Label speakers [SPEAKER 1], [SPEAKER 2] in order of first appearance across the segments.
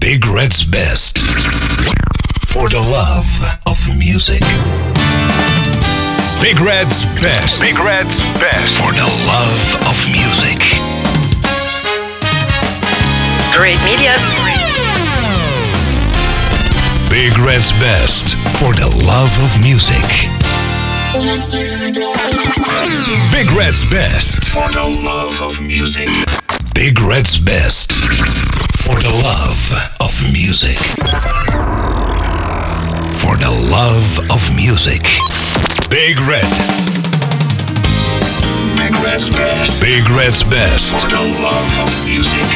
[SPEAKER 1] Big Red's best for the love of music. Big Red's best. Big Red's best for the love of music.
[SPEAKER 2] Great media.
[SPEAKER 1] Big Red's best for the love of music. Big Red's best for the love of music. Big Red's best for the love of music. For the love of music. Big Red. Big Red's best. Big Red's best for the love of music.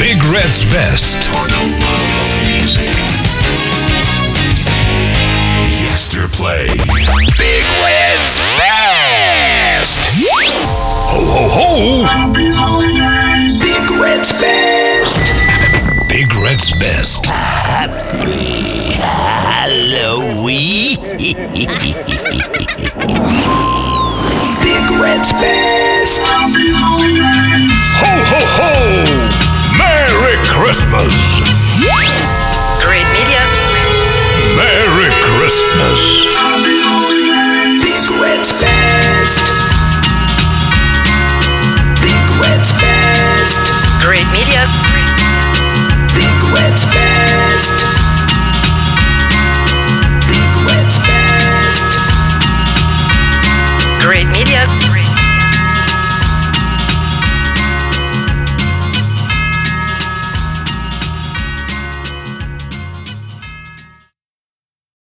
[SPEAKER 1] Big Red's best for the love of music. Yester play. Big Red's best. Ho ho ho! Big Red's best. Big Red's best. Happy Halloween. Big Red's best. Ho ho ho! Merry Christmas.
[SPEAKER 2] Great media.
[SPEAKER 1] Merry Christmas. Big Red's best. Big Red's best.
[SPEAKER 2] Great media.
[SPEAKER 1] Big Red's best. Big Red's best.
[SPEAKER 2] Great media.